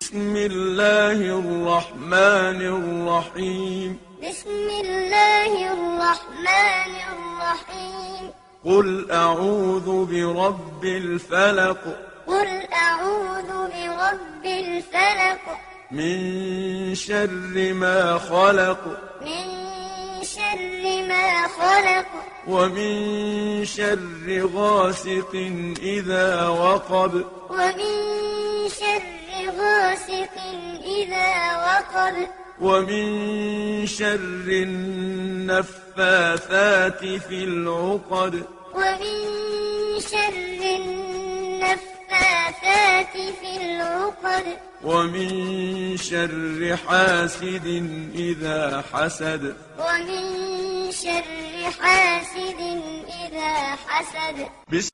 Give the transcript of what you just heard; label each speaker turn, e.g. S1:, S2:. S1: بسم الله الرحمن الرحيم
S2: بسم الله الرحمن الرحيم
S1: قل أعوذ برب الفلق
S2: قل أعوذ برب الفلق
S1: من شر ما خلق
S2: من شر ما خلق
S1: ومن شر غاسق إذا وقب
S2: ومن شر غاسق إذا وقب
S1: ومن شر النفاثات في العقد
S2: ومن شر النفاثات في العقد
S1: ومن شر حاسد إذا حسد
S2: ومن شر حاسد إذا حسد
S1: بسم